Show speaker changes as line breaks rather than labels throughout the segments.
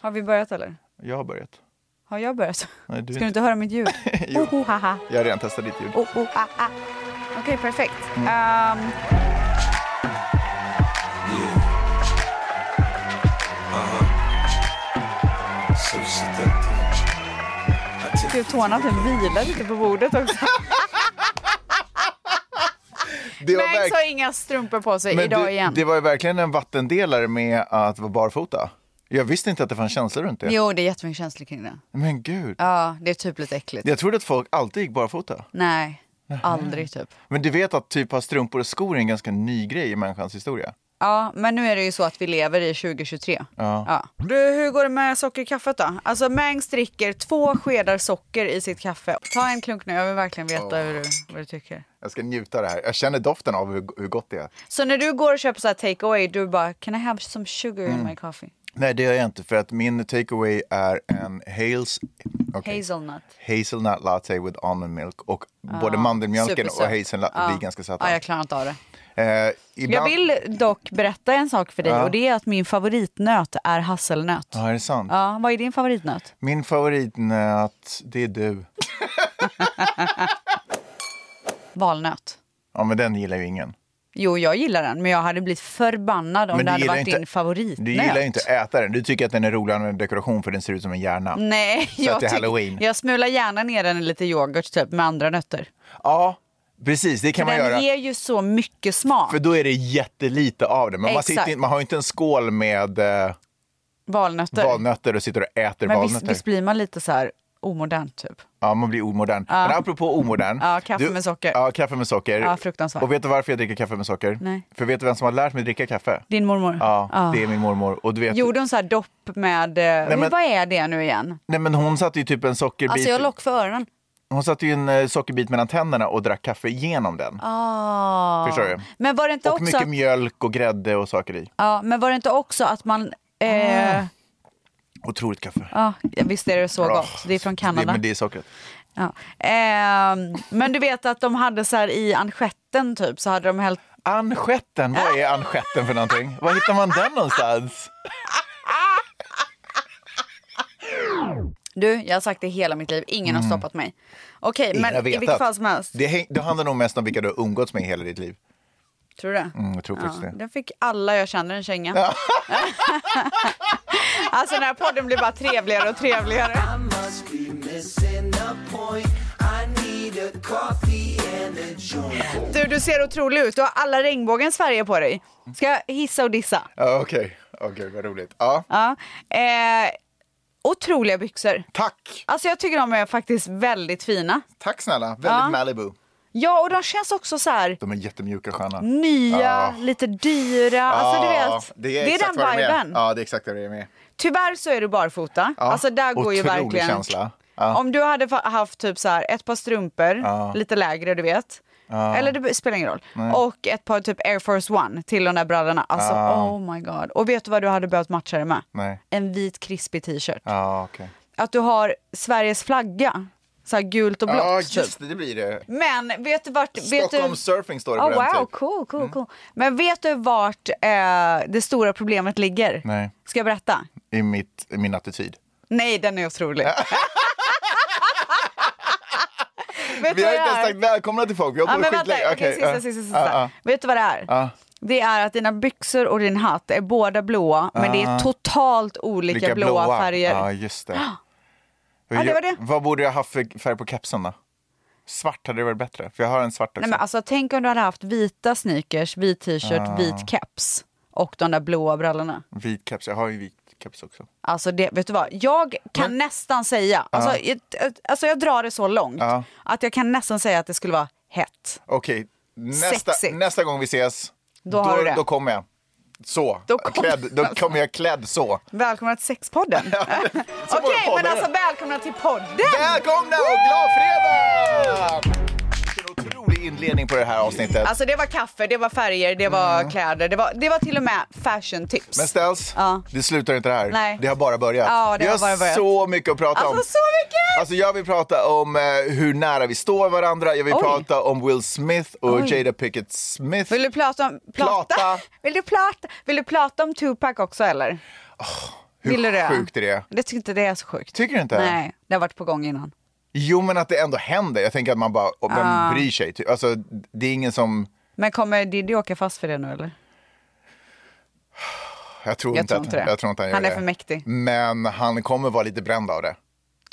Har vi börjat eller?
Jag har börjat.
Har jag börjat? Ska
Nej, du
du inte höra mitt ljud?
Jo.
Oh, oh, ha, ha.
Jag har redan testat ditt ljud.
Oh, oh, ah, ah. Okej, perfekt.
Mm.
Ehm, Gud, tårna typ vilar lite på bordet också.
Det var
Max
verk-
har inga strumpor på sig
Men
idag
du,
igen.
Det var ju verkligen en vattendelare med att vara barfota. Jag visste inte att det fanns känslor runt det.
Jo, det är jättemycket känslor kring det.
Men gud.
Ja, det är typ lite äckligt.
Jag trodde att folk alltid gick barfota.
Nej, aldrig typ.
Men du vet att typ ha strumpor och skor är en ganska ny grej i människans historia.
Ja, men nu är det ju så att vi lever i 2023.
Ja.
Du, hur går det med socker i kaffet då? Alltså Mangs dricker två skedar socker i sitt kaffe. Ta en klunk nu, jag vill verkligen veta hur du, vad du tycker.
Jag ska njuta av det här. Jag känner doften av hur, hur gott det är.
Så när du går och köper så här take away, du bara “Can I have some sugar
Mm.
in my coffee?”
Nej, det gör jag inte för att min takeaway är en Hales... okej.
Hazelnut.
Hazelnut latte with almond milk och både mandelmjölken och
supersött.
hazelnut blir ganska söta.
Ja, jag klarar inte av det.
Eh,
Jag
ibland...
vill dock berätta en sak för dig och det är att min favoritnöt är hasselnöt. Ja.
Ja, är det sant?
vad är din favoritnöt?
Min favoritnöt, det är du.
Valnöt.
Ja, men den gillar ju ingen.
Jo, jag gillar den, men jag hade blivit förbannad om
Men
det
du
hade
gillar
varit
inte-
din favoritnöt.
Du gillar ju inte att äta den. Du tycker att den är roligare än en dekoration för den ser ut som en hjärna.
Nej, jag,
till
tyck-
Halloween.
jag smular gärna ner den i lite yoghurt typ, med andra nötter.
Ja, precis. Det kan man
den
göra.
ger ju så mycket smak.
För då är det jättelite av det. Men man,
Exakt.
sitter, in- man har ju inte en skål med eh,
Valnötter.
valnötter och sitter och äter
men visst,
valnötter.
visst blir man lite så här omodern typ?
Ja, man blir omodern. Men apropå omodern.
Ja, kaffe med socker.
Ja, kaffe med socker.
Ja, fruktansvärt.
Och vet du varför jag dricker kaffe med socker?
Nej.
För vet du vem som har lärt mig dricka kaffe?
Din mormor?
Ja, det är min mormor. Och du vet,
Gjorde hon så här dopp med... Nej,
men-
Vad är det nu igen?
nej, men hon satte ju typ en sockerbit.
Alltså jag har lock för öronen.
Hon satte ju en eh, sockerbit mellan tänderna och drack kaffe genom den.
Ah.
Förstår du?
Men var det inte
Och
också...
mycket mjölk och grädde och saker i.
Ja, men var det inte också att man... Eh,
Otroligt kaffe.
ja, visst är det så
Bra.
gott. Det är från Kanada.
Ah. Det, men det är sockret.
Ja. Ehm, men du vet att de hade så här i manschetten typ så hade de hällt
Anschetten, vad är anschetten för någonting? Var hittar man den någonstans?
Du, jag har sagt det hela mitt liv. Ingen har stoppat mig. Okej,
Mm. Ingen
men
har
i
vetat. Mm,
vilket fall som helst.
Det, häng- det handlar nog mest om vilka du har umgåtts med i hela ditt liv.
Tror du det?
Mm, jag tror faktiskt det.
Den fick alla jag känner en känga. alltså den här podden blir bara trevligare och trevligare. Du, du ser otrolig ut. Du har alla regnbågens färger på dig. Ska jag hissa och dissa?
Ja, Okej, okay. vad roligt. Ja.
Ja. Eh, otroliga byxor.
Tack!
Alltså jag tycker de är faktiskt väldigt fina.
Tack snälla. Väldigt
Ja.
Malibu.
Ja, och de känns också så här
De är jättemjuka och sköna.
nya,
Ja.
lite dyra. Mm, Alltså du vet,
Ja,
det är,
exakt
den
vad det
viben.
Ja, det är exakt vad det är med.
Tyvärr så är du barfota.
Ja,
Alltså där går ju
otrolig
verkligen...
känsla. Ja.
Om du hade fa- haft typ så här ett par strumpor,
Ja.
lite lägre du vet. Eller det spelar ingen roll. Och ett par typ Air Force One till de där brallorna. Alltså oh my god. Och vet du vad du hade behövt matcha det med?
Nej.
En vit krispig t-shirt.
Ja, okej.
Att du har Sveriges flagga. Så här gult och blått.
Ja,
typ.
just det, det blir det.
Men vet du vart... Vet
Stockholm
du...
Surfing står det på
Oh,
den
wow,
typ.
cool, cool, cool. Men vet du vart eh, det stora problemet ligger?
Nej.
Ska jag berätta?
I, mitt, I min attityd.
Nej, den är otrolig. Vet du
Vi har
vad det
inte ens
är?
sagt välkomna till folk. Vi har
Ja,
hållit
men
på
vänta,
skitlänge.
okej, sista,
Okej, ja.
sista,
Ja,
sista.
ja.
Vet du vad det är?
Ja.
Det är att dina byxor och din hatt är båda blåa, men det
Ah.
är totalt olika
Lika
blåa, färger.
Ja, just det.
det var det.
Vad borde jag haft för färg på kepsen då? Svart hade varit bättre, för jag har en svart också.
Nej, men alltså, tänk om du hade haft vita sneakers, vit t-shirt,
Ah.
vit keps och de där blåa brallorna.
Vit keps, jag har ju vit keps också.
Alltså det, vet du vad? Jag kan nästan säga, alltså, ett- ett- alltså jag drar det så långt,
Ja.
att jag kan nästan säga att det skulle vara hett.
Okej, nästa,
Sexigt.
nästa gång vi ses,
Då har du det.
då kommer jag. Så.
Då kommer-
klädd, då kommer jag klädd så.
Välkomna till sexpodden. Okej,
podden
men
är.
alltså välkomna till podden!
Välkomna och glad fredag! Vilken otrolig inledning på det här avsnittet.
Alltså det var kaffe, det var färger, det var kläder, det var, det var till och med fashion tips.
Mm. Men Stels,
Ja.
det slutar inte där.
Nej.
Det har bara börjat.
Ja, det
vi
har bara börjat.
så mycket att prata om.
alltså så mycket!
Alltså jag vill prata om eh, hur nära vi står varandra. Jag vill
Oj.
prata om Will Smith och
Oj.
Jada Pickett Smith.
Vill du prata om... Plata?
Plata.
Vill, du plata? Vill du prata om Tupac också eller?
Hur
Ville Rö.
sjukt är det?
Jag tycker inte det är så sjukt.
Tycker du inte?
Nej, det har varit på gång innan.
Jo, men att det ändå händer. Jag tänker att man bara, och vem bryr sig? Ty- Alltså, det är ingen som...
Men kommer Diddy åka fast för det nu eller?
Jag tror,
Jag
inte,
tror
att,
inte det.
Jag tror inte han gör
Han är
det.
för mäktig.
Men han kommer vara lite bränd av det.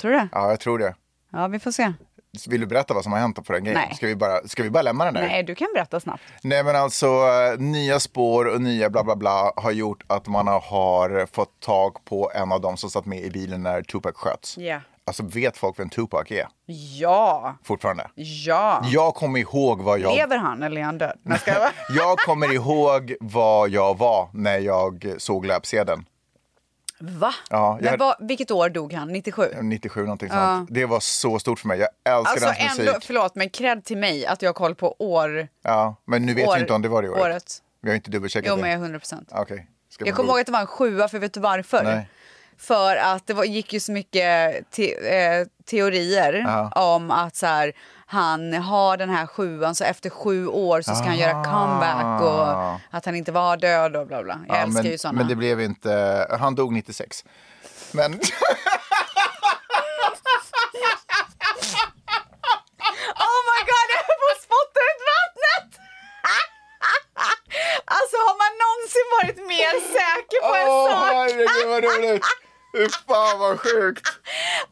Tror du det?
Ja, jag tror det.
Ja, vi får se.
Vill du berätta vad som har hänt på den grejen?
Nej.
Ska vi bara, ska vi bara lämna den där?
Nej, du kan berätta snabbt.
Nej men alltså eh, nya spår och nya bla bla bla har gjort att man har fått tag på en av dem som satt med i bilen när Tupac sköts.
Ja.
Alltså vet folk vem Tupac är
Ja,
fortfarande?
ja.
Jag kommer ihåg vad jag...
Lever han eller är han död? Nej, jag skojar bara.
Jag kommer ihåg vad jag var när jag såg löpsedeln.
Va?
Ja, jag-
Men vad, vilket år dog han? 97?
97 någonting sånt. Det var så stort för mig. Jag älskar
Alltså
hans musik.
ändå, förlåt, men cred till mig att jag har koll på år.
Ja, men nu vet
år
vi inte om det var det året.
året.
Vi har inte dubbelcheckat
Jo,
det.
men jag är 100 procent.
Okej. Ska
Jag
man
kommer
gå-
ihåg att det var en sjua, för vet du varför?
Nej.
För att det var, gick ju så mycket te, eh, teorier om att så här, han har den här sjuan, så efter sju år så ska han
Ah.
göra comeback och att han inte var död och bla bla. Jag
Ja,
älskar
men,
ju såna.
Men det blev inte... Han dog 96. Men...
Oh my god, jag höll på att spotta ut vattnet! Alltså har man någonsin varit mer säker på en
Åh,
sak?
herregud vad roligt! Fy fan vad sjukt!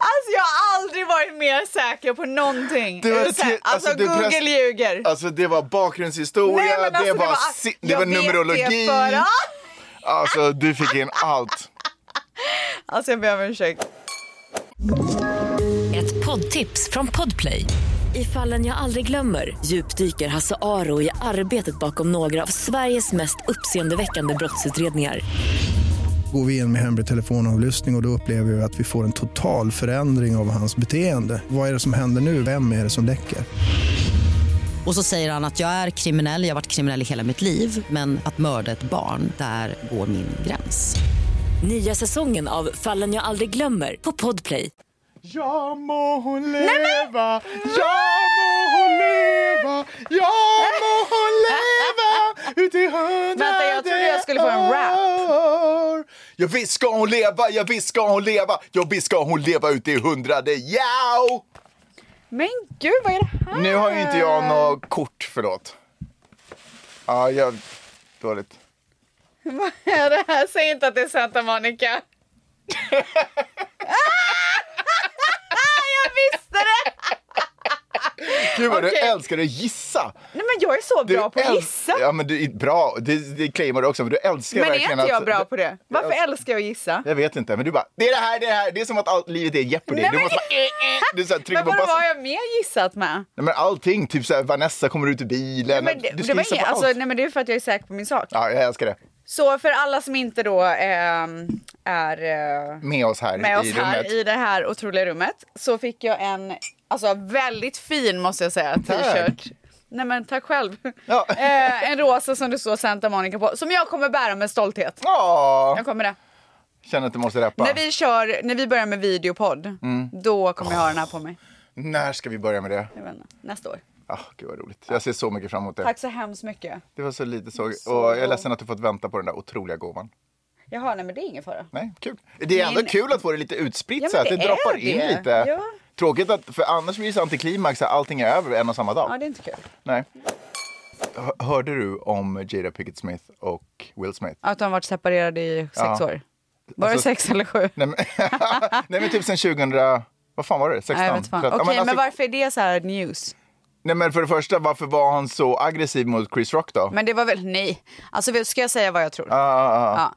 Alltså jag har aldrig varit mer säker på någonting.
Det var
Är det så här-
te-
alltså,
alltså, det
Google
press-
ljuger.
Alltså det var bakgrundshistoria,
Nej, men
det,
alltså,
var,
var-
si- det
jag
var
vet
numerologi.
för- Ah!
Alltså du fick in allt.
Alltså jag ber om ursäkt.
Ett poddtips från Podplay. I fallen jag aldrig glömmer djupdyker Hasse Aro i arbetet bakom några av Sveriges mest uppseendeväckande brottsutredningar.
går vi in med hemlig telefonavlyssning och, och då upplever vi att vi får en total förändring av hans beteende. Vad är det som händer nu? Vem är det som läcker?
Och så säger han att jag är kriminell, jag har varit kriminell i hela mitt liv men att mörda ett barn, där går min gräns.
Nya säsongen av Fallen jag aldrig glömmer på Podplay.
Ja må hon leva, ja må hon leva, ja må hon leva ut i hundrade
Vänta, jag trodde jag skulle få en rap.
år. Ja visst ska hon leva, ja visst ska hon leva, ja visst ska hon leva ut i hundrade, jao!
Men gud vad är det här?
Nu har ju inte jag något kort, förlåt. Ja, jag... Dåligt.
Vad är det här? Säg inte att det är Santa Monica. Ah, jag visste det!
Gud vad du
Okej.
älskar att gissa!
Nej men jag är så
Du
bra på att
äl-
gissa.
Ja, men du är bra. Det, det claimar du också, men du älskar
Men är
verkligen
inte jag
att...
bra på det? Varför älskar jag att gissa?
Jag vet inte, men du bara, det är det här, det är det här. Det är som att allt livet är Jeopardy.
Nej,
du
men-
måste bara, eh, eh. Du så här, trycker
Men
på
vadå, vad
passen.
har jag mer gissat med?
Nej, men allting, typ så här, Vanessa kommer ut ur bilen.
Men det,
du
det,
ska
var
gissa
inget,
på
alltså,
allt.
nej, men det är för att jag är säker på min sak.
Ja, jag älskar det.
Så för alla som inte då ehm, är eh,
Med oss här
med oss
i rummet.
här i det här otroliga rummet så fick jag en alltså, väldigt fin måste jag säga t-shirt. Nej men tack själv.
Ja.
Eh, en rosa som det står Santa Monica på som jag kommer bära med stolthet.
Åh,
Jag kommer det.
känner att du måste rappa.
När vi, kör, när vi börjar med videopodd,
Mm.
då kommer jag ha den här på mig.
När ska vi börja med det?
Jag vet inte, nästa år.
Ah, Gud vad roligt. Jag ser så mycket fram emot det.
Tack så hemskt mycket.
Det var så lite så.
Så
Och jag är
bra.
ledsen att du fått vänta på den där otroliga gåvan.
Jaha, nej men det är ingen fara.
Nej, kul. Det är ändå
Min-
kul att få det lite utspritt
Ja,
så att det
men det
droppar
är
in
det.
lite.
Ja.
Tråkigt att, för annars blir det så antiklimax att allting är över en och samma dag.
Ja, det är inte kul.
Nej. H- hörde du om Jada Pickett Smith och Will Smith?
Att de har varit separerade i sex
Ja.
år. Var det
Alltså-
sex eller sju?
Nej men, nej, men typ sen 2000, vad fan var det? 16?
Nej, jag vet fan. Okej,
13? Ja,
men,
alltså-
varför är det så här news?
Nej men för det första, varför var han så aggressiv mot Chris Rock då?
Men det var väl, nej. Alltså ska jag säga vad jag tror?
Ah, ah, ah.
Ja.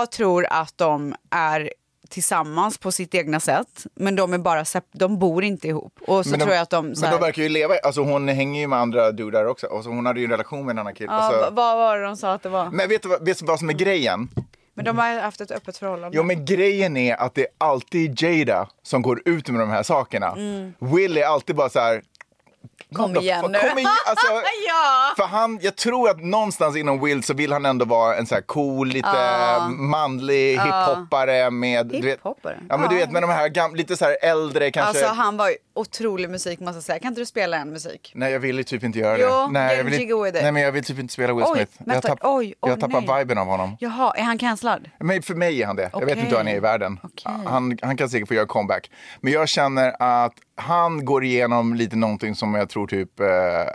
Jag tror att de är tillsammans på sitt egna sätt, men de är bara, sep- de bor inte ihop. Och så
Men de-
tror jag att de, så
Men
här,
de verkar ju leva, alltså hon hänger ju med andra dudar också. Alltså, hon hade ju en relation med en annan
ja,
kille. alltså.
v- vad var det de sa att det var?
Men vet du, vad, vet du vad som är grejen?
Men de har haft ett öppet förhållande.
Jo men grejen är att det är alltid Jada som går ut med de här sakerna. Will är alltid bara så här.
Mm. Kom igen nu.
Kom igen, alltså,
Ja!
För han, jag tror att någonstans inom Will så vill han ändå vara en så här cool, lite manlig hiphoppare med... du vet-
Ah. Hiphoppare?
Ja, men du
Ja.
vet med de här gam, lite så här äldre kanske.
Alltså han var ju otrolig musik måste jag säga. Kan inte du spela en musik?
Nej, jag vill ju typ inte göra
Jo,
det. Nej,
get
jag vill,
jiggy with it.
nej, men jag vill typ inte spela Will
Oj,
Smith. jag
vänta, oj, oj,
jag tappar
nej.
viben av honom.
Jaha, är han cancellad?
Men för mig är han det. Jag vet
Okej.
inte hur han är i världen.
Okej.
Han, han kan säkert få göra comeback. Men jag känner att han går igenom lite någonting som jag tror typ eh,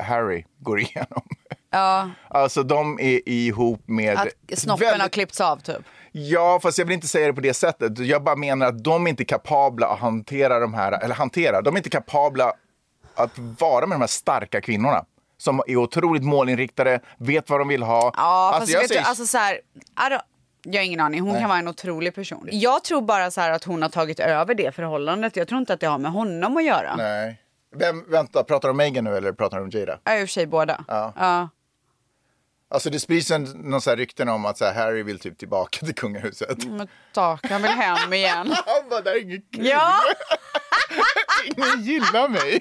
Harry går igenom.
Ja,
Alltså de är ihop med...
att snoppen har
väldigt-
klippts av typ.
Ja, fast jag vill inte säga det på det sättet. Jag bara menar att de är inte kapabla att hantera de här, eller hantera, de är inte kapabla att vara med de här starka kvinnorna. Som är otroligt målinriktade, vet vad de vill ha.
Ja, fast
jag
vet
säger-
du, alltså så här, I don't- jag har ingen aning, hon kan vara en otrolig person. Jag tror bara så här att hon har tagit över det förhållandet. Jag tror inte att det har med honom att göra. Nej.
Nej. Vem, vänta, pratar du om Megan nu eller pratar du om Jada?
Ja, i och för sig båda.
Ja.
Ja.
Alltså det sprids en, någon så här rykten om att så här, Harry vill typ tillbaka till kungahuset.
Men tak, han vill hem igen.
Han bara, det här är inget kul.
Ja!
Ingen gillar mig.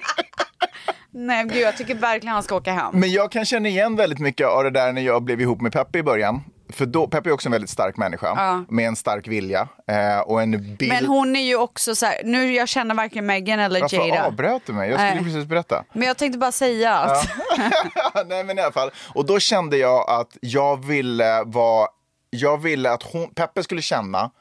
Nej, gud, jag tycker verkligen han ska åka hem.
Men jag kan känna igen väldigt mycket av det där när jag blev ihop med Peppe i början. För då, Peppe är också en väldigt stark människa med en stark vilja eh, och en bild.
Men hon är ju också så här, nu jag känner varken Meghan eller
Varför
Jada.
avbröt du mig? Jag skulle
Nej.
precis berätta.
Men jag tänkte bara säga att
Nej men i alla fall. Och då kände jag att jag ville vara, jag ville att hon, Peppe skulle känna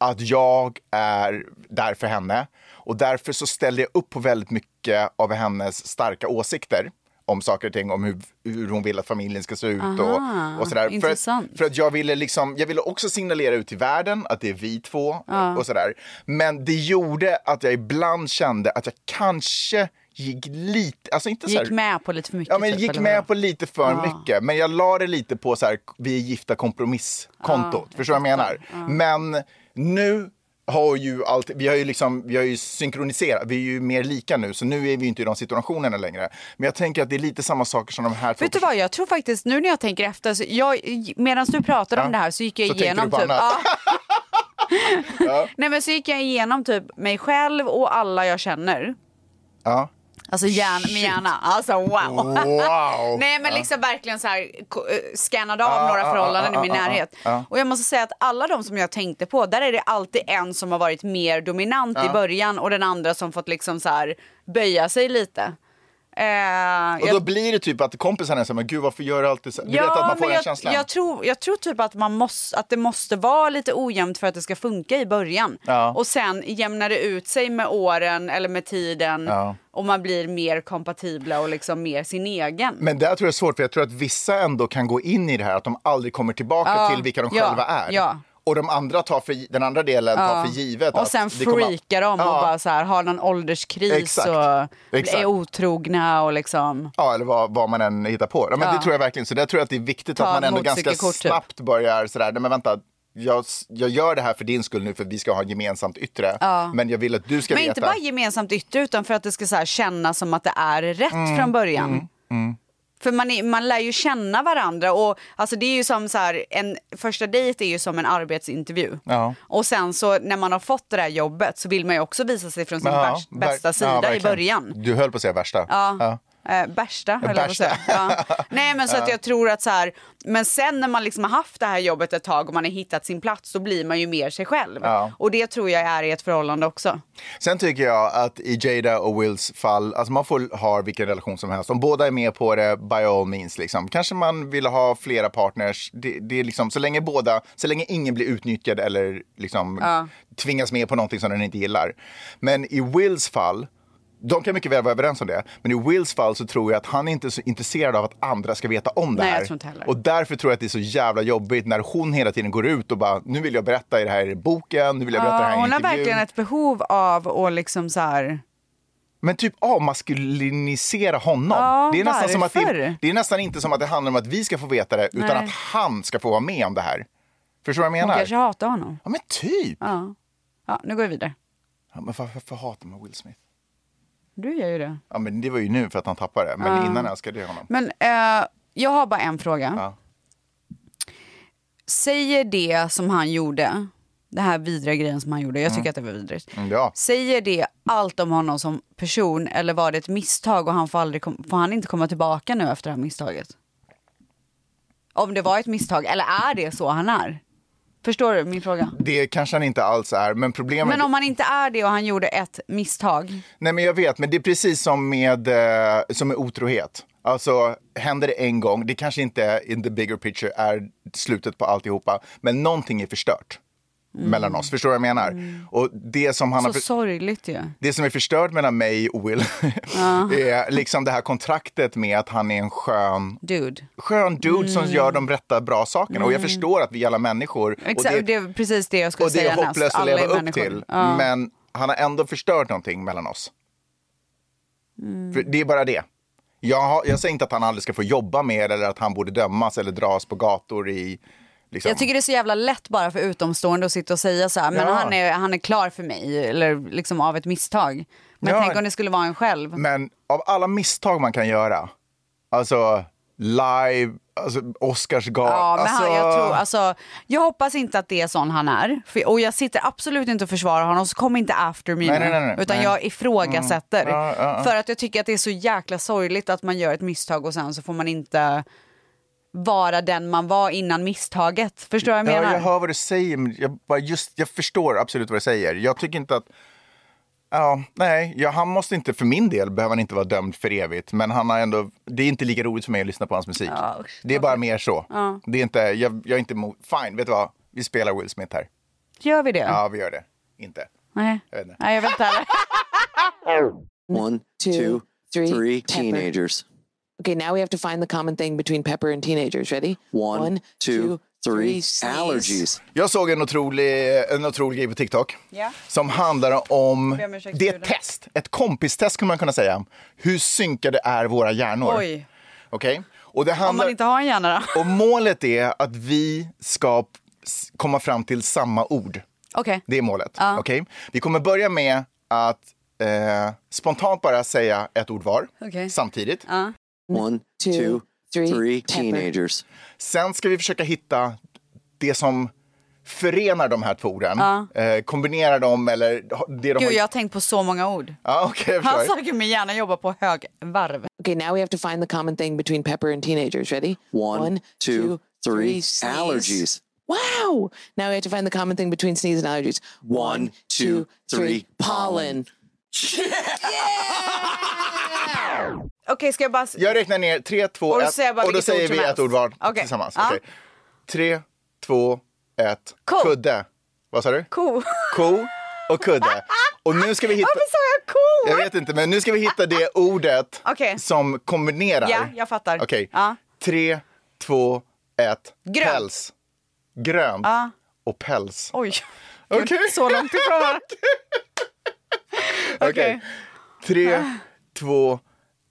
att jag är där för henne. Och därför så ställde jag upp på väldigt mycket av hennes starka åsikter om saker och ting, om hur, hur hon vill att familjen ska se ut och, och sådär. För,
intressant.
att- för att jag ville, liksom, jag ville också signalera ut till världen att det är vi två och sådär. Men det gjorde att jag ibland kände att jag kanske gick lite, alltså inte så
gick med på lite för mycket.
Ja, men
typ,
gick
eller
med
vadå?
på lite för mycket. Men jag la det lite på så här, vi är gifta kompromisskontot. Förstår du vad jag menar? Men nu har ju allt, vi har ju liksom, vi har ju synkroniserat, vi är ju mer lika nu. Så nu är vi inte i de situationerna längre. Men jag tänker att det är lite samma saker som de här två
Vet du vad, jag tror faktiskt, nu när jag tänker efter, så jag, medan du pratade
Ja.
om det här så gick jag
Så tänkte
igenom
du på
typ...
annat.
Ja. Nej men så gick jag igenom typ mig själv och alla jag känner.
Ja.
Alltså hjärn, med hjärna. Alltså wow.
Oh. Wow!
Nej men liksom verkligen så här ko- eh, skannade av
Ah,
några
ah,
förhållanden
ah,
i min
ah, ah,
närhet.
ah.
Och jag måste säga att alla de som jag tänkte på, där är det alltid en som har varit mer dominant i början och den andra som fått liksom så här böja sig lite. Eh,
Och
jag-
då blir det typ att kompisarna säger, men gud varför gör du alltid så? här?" Du vet att man får
men
den
jag,
känslan.
Jag tror, jag tror typ att, man måste, att det måste vara lite ojämnt för att det ska funka i början.
Ja.
Och sen jämnar det ut sig med åren eller med tiden
Ja.
och man blir mer kompatibla och liksom mer sin egen.
Men där tror jag det är svårt, för jag tror att vissa ändå kan gå in i det här att de aldrig kommer tillbaka
Ja,
till vilka de
ja,
själva är.
ja.
Och de andra tar för, den andra delen tar för givet
och
att
sen
det kommer-
freakar de och
Ja.
bara så här, har någon ålderskris
Exakt.
och
Exakt.
är otrogna och liksom...
Ja, eller vad, vad man än hittar på. Ja, men Det tror jag verkligen. Så där tror jag att det är viktigt
Ta
att man ändå
ett
ganska
motorcykelkort, typ.
snabbt börjar sådär, nej men vänta, jag, jag gör det här för din skull nu för vi ska ha ett gemensamt yttre. Men jag vill att du ska
Men
veta.
inte bara gemensamt yttre utan för att det ska så här kännas som att det är rätt
Mm,
från början. För man, är, man lär ju känna varandra och alltså det är ju som så här, en första dejt är ju som en arbetsintervju.
Ja.
Och sen så när man har fått det där jobbet så vill man ju också visa sig från sin
Ja,
värst,
ver-
bästa
ja,
sida i
verkligen.
början.
Du höll på att säga värsta.
Ja. Eh, bärsta, höll jag på att
Bärsta.
säga. Ja. Nej, men så att jag tror att så här, men sen när man liksom har haft det här jobbet ett tag och man har hittat sin plats, då blir man ju mer sig själv.
Ja.
Och det tror jag är i ett förhållande också.
Sen tycker jag att i Jada och Wills fall, alltså man får ha vilken relation som helst. Om båda är med på det, by all means. Liksom. Kanske man vill ha flera partners. Det, det är liksom, så länge båda, så länge ingen blir utnyttjad eller liksom tvingas med på någonting som den inte gillar. Men i Wills fall, de kan mycket väl vara överens om det, men i Wills fall så tror jag att han är inte är så intresserad av att andra ska veta om det
Nej, jag
här.
tror inte heller.
Och därför tror jag att det är så jävla jobbigt när hon hela tiden går ut och bara, nu vill jag berätta i det här i boken, nu vill jag berätta i det här i
hon har
intervjun.
verkligen ett behov av att liksom så här...
Men typ avmaskulinisera honom.
Ja,
det, är nästan som att det,
varför?
det är nästan inte som att det handlar om att vi ska få veta det, utan
Nej.
att han ska få vara med om det här. Förstår du vad jag
Hon
menar?
kanske hatar honom.
Ja, men typ.
Ja. ja, nu går vi vidare.
Ja, men varför, varför hatar man Will Smith?
Du gör ju det.
Ja, men det var ju nu för att han tappade det, men innan älskade jag honom.
Men eh, jag har bara en fråga.
Ja.
Säger det som han gjorde den här vidriga grejen som han gjorde, jag tycker att det var vidrigt.
Mm, ja.
Säger det allt om honom som person eller var det ett misstag och han får, aldrig kom, får han inte komma tillbaka nu efter det här misstaget? Om det var ett misstag, eller är det så han är? Förstår du min fråga?
Det kanske han inte alls är, men problemet...
Men om han inte är det och han gjorde ett misstag,
Nej, men jag vet, men det är precis som med, eh, som med otrohet. Alltså, händer det en gång, det kanske inte in the bigger picture är slutet på alltihopa, men någonting är förstört mellan oss. Förstår du vad jag menar? Och det som han har...
Mm. så
för-
sorgligt ju.
det som är förstört mellan mig och Will är liksom det här kontraktet med att han är en skön,
Dude.
skön dude som
Mm.
gör de rätta bra sakerna. Och jag förstår att vi alla människor...
Exakt,
och
det,
det,
är precis det jag skulle
och det
säga
är hopplöst
näst.
att
Alla
leva
är
upp
människor.
till.
Ja.
Men han har ändå förstört någonting mellan oss.
Mm.
För det är bara det. Jag, har, jag säger inte att han aldrig ska få jobba mer eller att han borde dömas eller dras på gator i... Liksom.
Jag tycker det är så jävla lätt bara för utomstående att sitta och säga så här, men
Ja.
han, är, han är klar för mig, eller liksom av ett misstag. Men
Ja.
tänk om det skulle vara en själv.
Men av alla misstag man kan göra, alltså live, alltså Oscarsgalan.
Ja, men
alltså,
han, jag, tror, alltså, jag hoppas inte att det är sån han är. För, och jag sitter absolut inte och försvarar honom, så kom inte after me
Nej,
nu.
nej, nej, nej.
Utan
Nej.
jag ifrågasätter.
Mm. Ja, ja, ja.
För att jag tycker att det är så jäkla sorgligt att man gör ett misstag och sen så får man inte vara den man var innan misstaget. Förstår du vad jag
ja,
menar?
jag hör vad du säger, men jag, bara just, jag förstår absolut vad du säger. Jag tycker inte att... Ja, nej, ja, han måste inte, för min del behöver han inte vara dömd för evigt. Men han har ändå, det är inte lika roligt för mig att lyssna på hans musik.
Ja, usch,
det är bara mer så. Det är inte, jag, jag är inte emot, fine, vet du vad? Vi spelar Will Smith här.
Gör vi det?
Ja, vi gör det. Inte.
Nej.
Jag vet inte.
Nej, jag vet inte heller.
One, two, three
two, three, pepper.
teenagers.
Okay, now we have to find the common thing between pepper and teenagers. Ready?
One, two, three,
sneeze.
allergies.
Jag såg en otrolig, en otrolig grej på TikTok
Ja.
som handlar om...
Ber om ursäkt,
Det är ett
Julia.
test, ett kompistest skulle man kunna säga. Hur synkade är våra hjärnor?
Oj.
Okej? Och det
Om man
handlar...
inte har en hjärna då?
Och målet är att vi ska p- s- komma fram till samma ord.
Okej.
Det är målet. Okej? Vi kommer börja med att eh, spontant bara säga ett ord var
Okej.
samtidigt.
One,
two,
two,
three,
three
pepper.
teenagers.
Sen ska vi försöka hitta det som förenar de här två orden. Eh, kombinera dem eller ha- det de
Gud,
har...
jag har tänkt på så många ord.
Ja, okej, jag förstår.
Han sa att min hjärna jobbar på högvarv.
Okay, now we have to find the common thing between pepper and teenagers. Ready?
One, two, three, allergies.
Wow! Now we have to find the common thing between sneeze and allergies.
One, two, three,
pollen.
Okej, ska jag bara...
Jag räknar ner tre, två,
Och då
ett
säger jag bara
och då
vilket
säger
ord som
vi ett
helst.
ord var
Okej.
tillsammans.
Ja.
Okej. Tre, två, ett.
Ko.
Kudde. Vad sa du?
Ko.
Ko och kudde. Och nu ska vi hitta...
Varför sa jag ko?
Jag vet inte, men nu ska vi hitta det ordet
Okej.
som kombinerar.
Ja, jag fattar.
Okej.
Ja.
Tre, två, ett.
Grönt.
Päls. Grönt. Och päls.
Oj,
Okej.
så långt ifrån. varandra.
Okej.
okej.
Tre, två,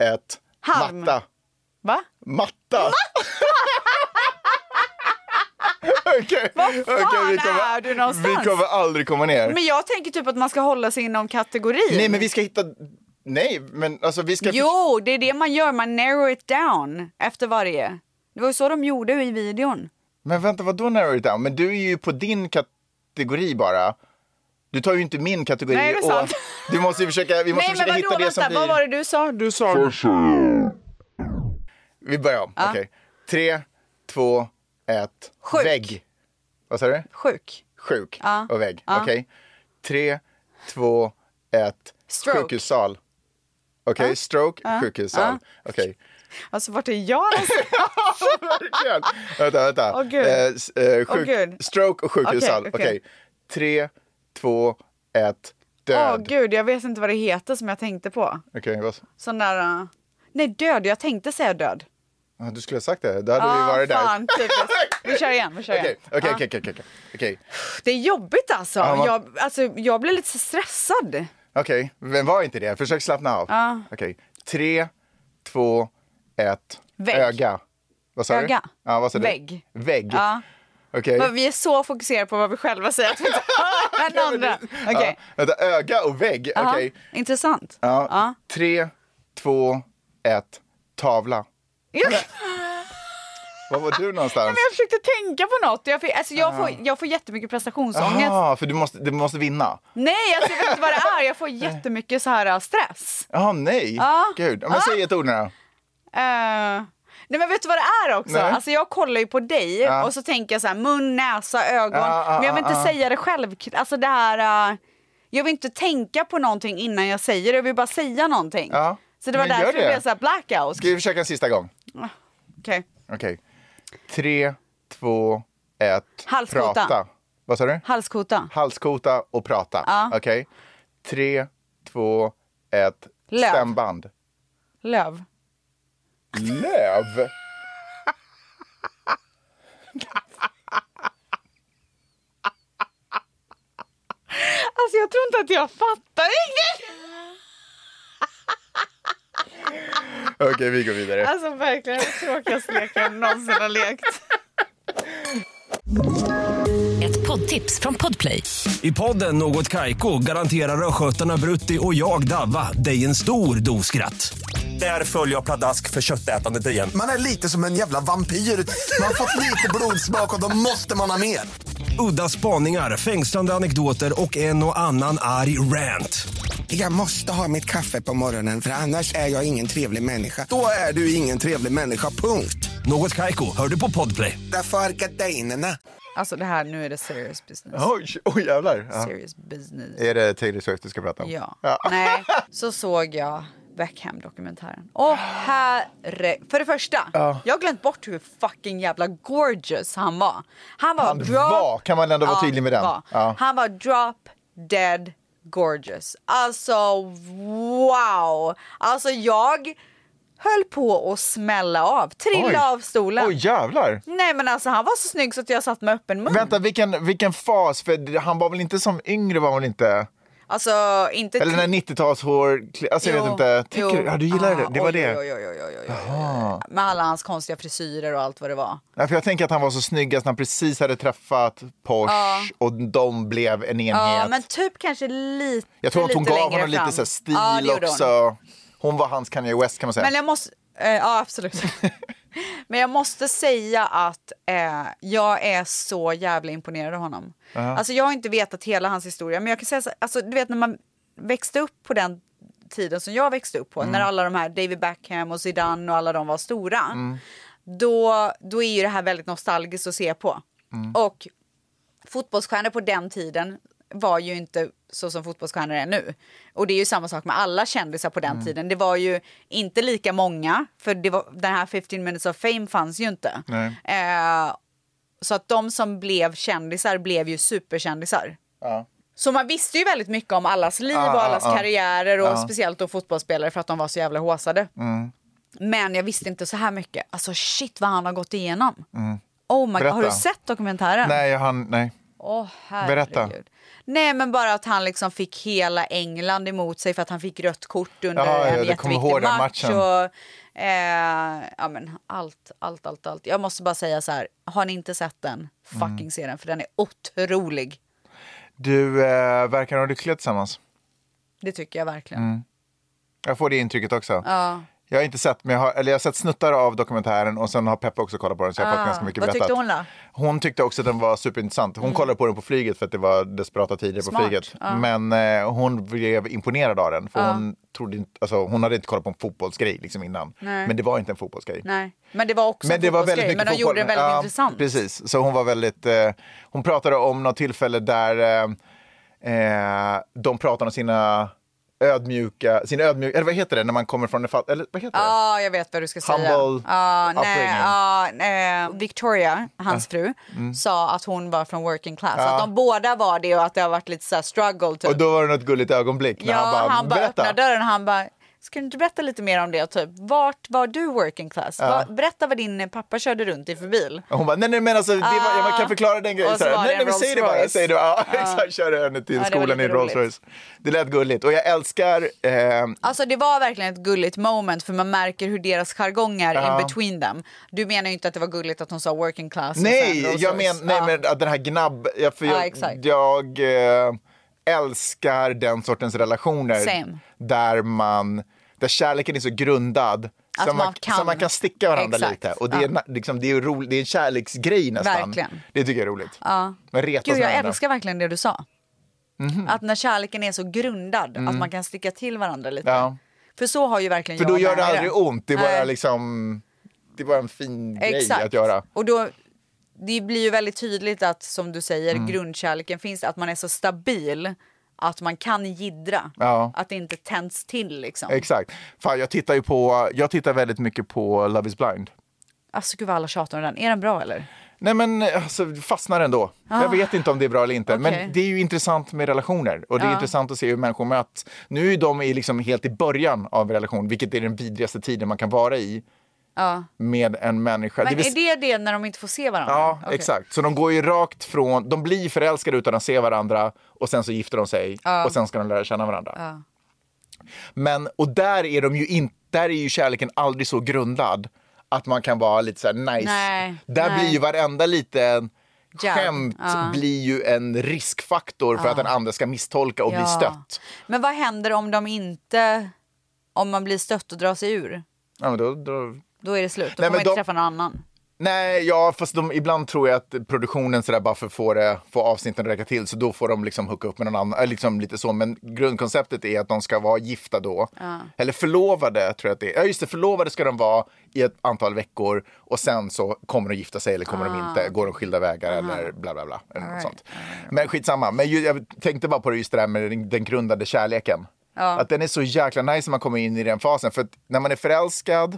ett.
Halm.
Matta.
Va?
Matta! Okej, okay.
fan är du någonstans?
Vi kommer aldrig komma ner.
Men jag tänker typ att man ska hålla sig inom kategorin.
Nej, men vi ska hitta... Nej, men alltså vi ska...
Jo, det är det man gör. Man narrow it down efter varje. Det var ju så de gjorde i videon.
Men vänta, vadå narrow it down? Men du är ju på din kategori bara. Du tar ju inte min kategori.
Nej, det är sant.
Du måste ju försöka, vi måste
Nej, men vadå?
försöka hitta det
Vänta,
som blir...
vad var det du sa? Du sa...
Vi börjar om. Okej. Tre, två, ett.
Sjuk.
Vägg. Vad sa du?
Sjuk.
Sjuk
Ja.
och vägg.
Ja.
Okej. Tre, två, ett.
Stroke.
Sjukhussal. Okej, stroke, sjukhussal. Okej.
Alltså vart är jag någonstans?
Verkligen. vänta, vänta.
Åh, gud.
Eh, s- eh,
Åh,
sjuk-
gud.
stroke och sjukhussal. Okej.
Okej, okej.
Tre, två, ett.
Åh
Död.
gud, jag vet inte vad det heter som jag tänkte på.
Okej, vad så?
Sån där... eh, Nej, död. Jag tänkte säga död.
Ah, du skulle ha sagt det. Då hade vi
Ah,
varit där.
fan, Ah. typiskt. Vi kör igen. Vi kör igen.
Okej, okej, okej, okej, okej. Okej,
Det är jobbigt alltså.
Ja, man-
Jag, alltså jag blir lite stressad.
okej. Men var inte det. Försök slappna av.
Ja.
Okej. Tre, två, ett.
Vägg.
Öga. Vad sa
Öga.
du? Ja, vad sa du?
Vägg.
Vägg.
Ja.
Okej.
Men vi är så fokuserade på vad vi själva säger att vi inte hör den andra. Okej. Ah.
Ja, Ah, vänta, öga och vägg. Okej.
Aha, Intressant.
Ja.
Ja.
Tre, två, ett. Tavla.
Ja.
Var var du
Nej,
någonstans?
men jag försökte tänka på något. Jag, fick, alltså, jag, får, jag får jättemycket prestationsångest.
Jaha, för du måste, du måste vinna.
Nej, alltså, jag vet inte vad det är. Jag får jättemycket så här äh, stress.
Jaha, nej.
Ja.
Gud. Ja, Men säg ett ord nu då.
Eh, nej men vet du vad det är också?
Nej.
Alltså jag kollar ju på dig och så tänker jag så här mun, näsa, ögon.
Ja, ja,
men jag vill inte
ja, ja.
säga det själv. Alltså det här, eh, jag vill inte tänka på någonting innan jag säger det. Jag vill bara säga någonting.
Ja.
Så det var
Men gör
därför det
det.
blev så här blackout.
Ska vi försöka en sista gång?
Okej.
Okej. Tre, två, ett.
Halskota.
Prata. Vad sa du?
Halskota.
Halskota och prata.
Ja.
Okej. Tre, två, ett.
Löv.
Stämband.
Löv.
Löv?
Alltså jag tror inte att jag fattar riktigt.
Okej, vi går vidare.
Alltså verkligen den tråkigaste leken jag någonsin har lekt.
Ett poddtips från Podplay.
I podden Något Kaiko garanterar östgötarna Brutti och jag, Davva, dig en stor dos skratt. Där följer jag pladask för köttätandet igen.
Man är lite som en jävla vampyr. Man har fått lite blodsmak och då måste man ha mer.
Udda spaningar, fängslande anekdoter och en och annan arg rant.
Jag måste ha mitt kaffe på morgonen för annars är jag ingen trevlig människa. Då är du ingen trevlig människa, punkt.
Något Kaiko, hör du på Podplay.
Därför är gardinerna.
Alltså det här, nu är det serious business.
Oj, oj jävlar. Ja.
Serious business.
Är det Taylor Swift du ska prata om?
Ja. Nej, så såg jag Beckham-dokumentären. Åh herre... För det första, jag har glömt bort hur fucking jävla gorgeous han var. Han var...
Han var, kan man ändå vara
Ja,
tydlig med den?
var.
Ja.
Han var drop dead gorgeous. Alltså wow! Alltså jag höll på att smälla av, trilla
Oj.
av stolen.
Oj, jävlar.
Nej men alltså han var så snygg så att jag satt med öppen mun.
Vänta, vilken, vilken fas? För han var väl inte som yngre? var han väl inte?
Alltså inte...
Eller när 90-talshår... Alltså jag vet inte. Tycker du? Ja, du gillar det? Det
Ah,
var
oj,
det.
Oj, oj, oj, oj, oj, oj, oj. Med alla hans konstiga frisyrer och allt vad det var.
Ja, för jag tänker att han var så snyggast när han precis hade träffat Porsche och de blev en enhet.
Ja, men typ kanske lite
jag tror att hon
lite
gav
längre
honom
fram.
lite så här stil
Ja, det gjorde hon.
också. Hon var hans Kanye West kan man säga.
Men jag måste... Eh, ja, absolut. men jag måste säga att eh, jag är så jävla imponerad av honom. Alltså jag har inte vetat hela hans historia, men jag kan säga så, alltså du vet när man växte upp på den tiden som jag växte upp på,
Mm.
när alla de här David Beckham och Zidane och alla de var stora,
Mm.
då, då är ju det här väldigt nostalgiskt att se på.
Mm.
Och fotbollsstjärnor på den tiden var ju inte så som fotbollsstjärnor är nu. Och det är ju samma sak med alla kändisar på den
Mm.
tiden. Det var ju inte lika många, för det var, den här 15 minutes of fame fanns ju inte.
Nej.
Eh, så att de som blev kändisar blev ju superkändisar.
Ja.
Så man visste ju väldigt mycket om allas liv
Ja,
och allas
ja, Mm. ja.
karriärer och speciellt då fotbollsspelare för att de var så jävla håsade. Men jag visste inte så här mycket. Alltså shit vad han har gått igenom. Oh my God. Har du
Mm. Berätta.
sett dokumentären?
Nej, han, nej.
Åh,
Berätta.
herregud. Nej, men bara att han liksom fick hela England emot sig för att han fick rött kort under
Jaha, ja,
en
jag kommer ihåg
jätteviktig
den
match.
matchen.
Och, eh, ja, men allt, allt, allt, allt. Jag måste bara säga så här, har ni inte sett den,
Mm.
fucking se den för den är otrolig.
Du eh, verkar ha lyckliga tillsammans.
Det tycker jag verkligen.
Mm. Jag får det intrycket också. Jag har inte sett, men jag har, eller jag har sett snuttar av dokumentären och sen har Peppe också kollat på den så jag har fått ganska mycket
Ah, Vad
berättat.
tyckte hon då? Mm.
Hon tyckte också att den var superintressant. Hon kollade på den på flyget för att det var desperata tider på
Smart,
flyget.
ja.
Men eh, hon blev imponerad av den. För hon, trodde inte, alltså, hon hade inte kollat på en fotbollsgrej liksom innan.
Nej.
Men det var inte en fotbollsgrej.
Nej, men det var också en fotbollsgrej, men de gjorde det väldigt
Ja,
intressant.
Precis, så hon var väldigt... Eh, hon pratade om något tillfälle där eh, eh, de pratade om sina ödmjuka, sin ödmjuka, eller vad heter det när man kommer från en fatt, eller vad heter det?
Ja, jag vet vad du ska säga.
Humble
Ja, nej,
upbringing. Mm.
ja, eh, Victoria, hans fru, sa att hon var från working class. Att de båda var det och att det har varit lite så här struggle. Typ.
Och då var det något gulligt ögonblick när
ja,
han bara, berätta.
öppnar dörren och han bara, ska du inte berätta lite mer om det? Typ, vart var du working class? Va- berätta vad din pappa körde runt i för bil.
Och Hon bara, nej, nej men alltså, det var, jag kan förklara den grejen.
Ah. Och så
Så här,
var det
nej, nej,
en
men säg det bara.
Rolls-Royce.
Säg det bara. Ja, exakt, kör henne till
det var
skolan
lite
i en Rolls
roligt.
Royce. Det lät gulligt. Och jag älskar, eh,
Alltså det var verkligen ett gulligt moment för man märker hur deras jargong är
Ja.
in between them. Du menar ju inte att det var gulligt att hon sa working class. och sen
nej,
Rolls
jag
Royce.
men, nej
Ja.
men att den här gnabb, jag, för
Ja,
jag,
exakt.
jag eh, älskar den sortens relationer.
Same.
Där man, där kärleken är så grundad
Att
så, man,
man kan-
så man kan sticka varandra
Exakt.
lite. Och det, är,
Ja.
na- liksom, det, är roligt, det är en kärleksgrej nästan.
Verkligen.
Det tycker jag är roligt.
Ja.
Men retas
Gud,
med
jag
varandra.
älskar verkligen det du sa.
Mhm.
Att när kärleken är så grundad, att man kan sticka till varandra lite.
Mm. Ja.
För så har ju verkligen
För
jag
då gör
med
det
mig
aldrig ont. Det är bara,
Nej.
liksom, det är bara en fin grej
Exakt.
att göra.
Och då, det blir ju väldigt tydligt att, som du säger,
Mm.
grundkärleken finns, att man är så stabil att man kan jiddra.
Ja.
Att det inte tänds till liksom.
Exakt. Fan, jag tittar ju på, jag tittar väldigt mycket på Love is blind.
alltså gud vad alla tjatar om den. Är den bra eller?
Nej men alltså, fastnar ändå. Jag vet inte om det är bra eller inte.
Ah. okej.
Men det är ju intressant med relationer. Och det är intressant att se hur människor möts. Nu är de i liksom helt i början av en relation, vilket är den vidrigaste tiden man kan vara i. Med en människa.
Men
Det vill-
är det det när de inte får se varandra?
Ja,
Okej.
exakt. Så de går ju rakt från, de blir förälskade utan att se varandra och sen så gifter de sig och sen ska de lära känna varandra. Men, och där är de ju inte, där är ju kärleken aldrig så grundad att man kan vara lite så här nice.
Nej,
där
nej.
blir ju varenda liten
Jab,
skämt
ja.
blir ju en riskfaktor för att den andra ska misstolka och bli
Ja.
stött.
Men vad händer om de inte, om man blir stött och drar sig ur?
Ja, men då, då...
Då är det slut. Då
Nej,
får
men
man inte
de-
träffa någon annan.
Nej, ja, fast de, ibland tror jag att produktionen sådär bara för att få, det, få avsnitten att räcka till så då får de liksom hooka upp med någon annan, äh, liksom lite så. Men grundkonceptet är att de ska vara gifta då. Eller förlovade tror jag att det är. Ja, just det, förlovade ska de vara i ett antal veckor och sen så kommer de gifta sig eller kommer de inte, går de skilda vägar eller bla bla bla. Eller något sånt. Men skitsamma, men ju, jag tänkte bara på det just det där med den, den grundade kärleken. Att den är så jäkla nice när man kommer in i den fasen. För att när man är förälskad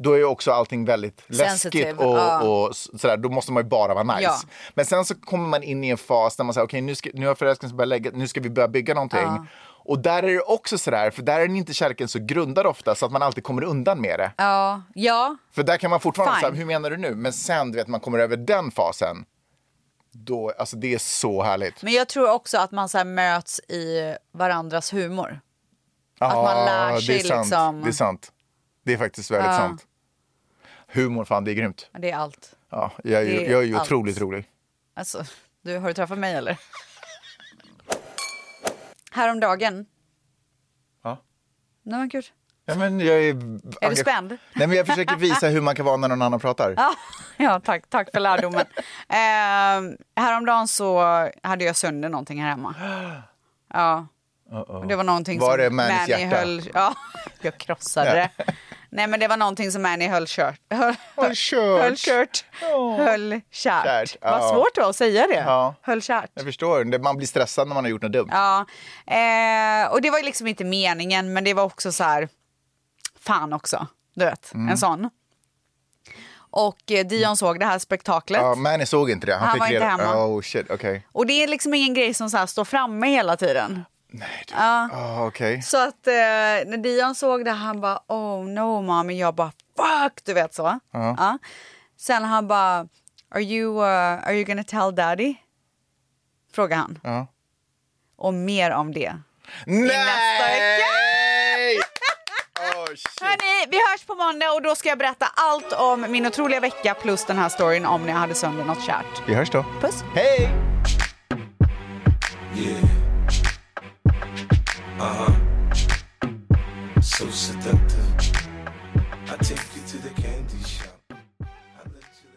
då är ju också allting väldigt
Sensitive,
läskigt och,
ja.
och s- sådär. Då måste man ju bara vara nice.
Ja.
Men sen så kommer man in i en fas där man säger okej nu, ska- nu har förälskelsen börjat lägga, nu ska vi börja bygga någonting. Och där är det också sådär, för där är den inte kärleken så grundad ofta så att man alltid kommer undan med det.
Ja, ja.
För där kan man fortfarande
Fine.
säga hur menar du nu? Men sen du vet man kommer över den fasen. Då, alltså det är så härligt.
Men jag tror också att man så här möts i varandras humor. att man lär sig
Ah, det är sant.
liksom-
Det är sant. Det är faktiskt väldigt sant. Humor, fan det är grymt.
Det är allt.
Ja, jag, är ju-
Det är
jag är ju
allt.
otroligt rolig.
Alltså, du, har du träffat mig eller? Häromdagen.
Ja.
Nej men gud.
Ja, men jag är...
Är du spänd?
Nej, men jag försöker visa hur man kan vara när någon annan pratar.
Ja, Ah, ja tack, tack för lärdomen. eh, häromdagen så hade jag sönder någonting här hemma. Ja. Det var någonting
Var
som
det Mannys hjärta?
höll... Ja, jag krossade det. Nej men det var någonting som Manny höll kört. Höll,
Höll kört.
Höll kört. Höll kärt.
Kärt, ja.
Vad svårt det var att säga det.
Ja.
Höll kärt.
Jag förstår, Det- man blir stressad när man har gjort något dumt.
Ja, eh, och det var ju liksom inte meningen, men det var också så här, fan också, du vet,
Mm.
en sån. Och eh, Dion såg det här spektaklet.
Ja, Manny såg inte det. Han,
Han
fick
var inte
reda-
hemma.
Oh shit, okej.
Och det är liksom ingen grej som så här står framme hela tiden.
Ah, okej.
Så att eh, när Dion såg det, han bara oh no mommy, jag bara fuck, du vet så. Ja. Sen han bara, are you, uh, are you gonna tell daddy? Frågar han.
Ja.
Och mer om det. nästa vecka.
Nej! Oh shit.
Hörni, vi hörs på måndag och då ska jag berätta allt om min otroliga vecka plus den här storyn om när jag hade sönder något kärt.
Vi hörs då.
Puss!
Hej!
Uh-huh. So seductive. I take you to the candy shop. I let you